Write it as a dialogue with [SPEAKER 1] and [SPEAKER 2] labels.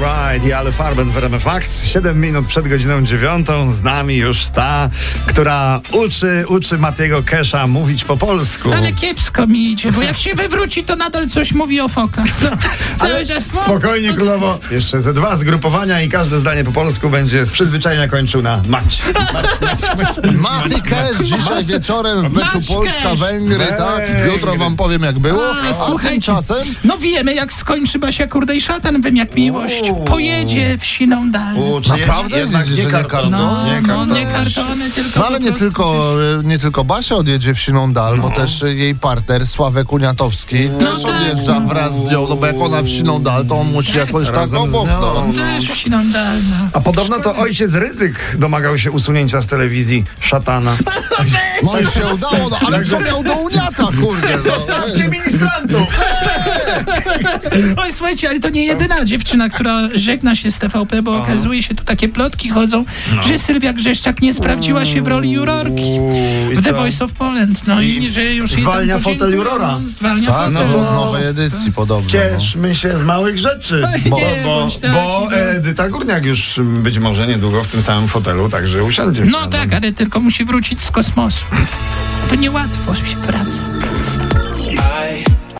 [SPEAKER 1] Night i Ale Farben w RMF Max. 7 minut przed godziną 9 z nami już ta, która uczy, uczy Matiego Kesha mówić po polsku.
[SPEAKER 2] Ale kiepsko mi idzie, bo jak się wywróci, to nadal coś mówi o fokach. Cały no, że fok,
[SPEAKER 1] Spokojnie,
[SPEAKER 2] fok.
[SPEAKER 1] królowo. Jeszcze ze dwa zgrupowania i każde zdanie po polsku będzie z przyzwyczajenia kończył na mać.
[SPEAKER 3] Maty Kesz dzisiaj wieczorem w meczu
[SPEAKER 2] Maciej Kesz.
[SPEAKER 3] Polska-Węgry, tak? Jutro wam powiem jak było.
[SPEAKER 2] A,
[SPEAKER 3] A
[SPEAKER 2] słuchajcie.
[SPEAKER 3] tymczasem
[SPEAKER 2] No wiemy, jak skończy Basia Kurdej szatan, wiem jak miłość. Pojedzie w siną dal.
[SPEAKER 1] U, czy
[SPEAKER 3] Naprawdę?
[SPEAKER 1] Jednak
[SPEAKER 3] Widzisz,
[SPEAKER 1] nie
[SPEAKER 3] że nie
[SPEAKER 1] karton.
[SPEAKER 2] No,
[SPEAKER 3] karton?
[SPEAKER 1] nie
[SPEAKER 2] no,
[SPEAKER 1] karton.
[SPEAKER 2] nie kartony, tylko
[SPEAKER 3] no
[SPEAKER 2] po
[SPEAKER 3] ale nie
[SPEAKER 2] prostu
[SPEAKER 3] tylko, e, nie tylko Basia odjedzie w Siną Dal, bo też e, jej partner Sławek Uniatowski też
[SPEAKER 2] tak.
[SPEAKER 3] odjeżdża wraz z nią, no bo jak ona w Siną Dal, to on musi jakoś tak
[SPEAKER 1] razem z
[SPEAKER 3] obok.
[SPEAKER 1] nią.
[SPEAKER 3] No.
[SPEAKER 2] coś- Też w siną dal. no.
[SPEAKER 1] A podobno to ojciec Ryzyk domagał się usunięcia z telewizji szatana.
[SPEAKER 3] No i się udało, no ale co miał do Uniata, kurde. No.
[SPEAKER 1] ministrantów!
[SPEAKER 2] Oj, słuchajcie, ale to nie jedyna dziewczyna, która żegna się z TVP, bo okazuje się, tu takie plotki chodzą, że Sylwia Grzeszczak nie sprawdziła się w roli jurorki
[SPEAKER 1] i
[SPEAKER 2] w The
[SPEAKER 1] co?
[SPEAKER 2] Voice of Poland. No i, że już jej tam
[SPEAKER 1] zwalnia fotel
[SPEAKER 2] podziękują,
[SPEAKER 1] jurora.
[SPEAKER 2] Zwalnia
[SPEAKER 3] Tak,
[SPEAKER 2] fotel.
[SPEAKER 3] no to
[SPEAKER 1] to-
[SPEAKER 3] nowej edycji podobno. no.
[SPEAKER 1] Cieszmy się z małych rzeczy.
[SPEAKER 2] Ej,
[SPEAKER 1] Bo,
[SPEAKER 2] No nie,
[SPEAKER 1] bo,
[SPEAKER 2] bądź taki,
[SPEAKER 1] bo
[SPEAKER 2] no.
[SPEAKER 1] Edyta Górniak już mm, być może niedługo w tym samym fotelu, także usiądzie.
[SPEAKER 2] No tak, ale tylko musi wrócić z kosmosu. To niełatwo się praca.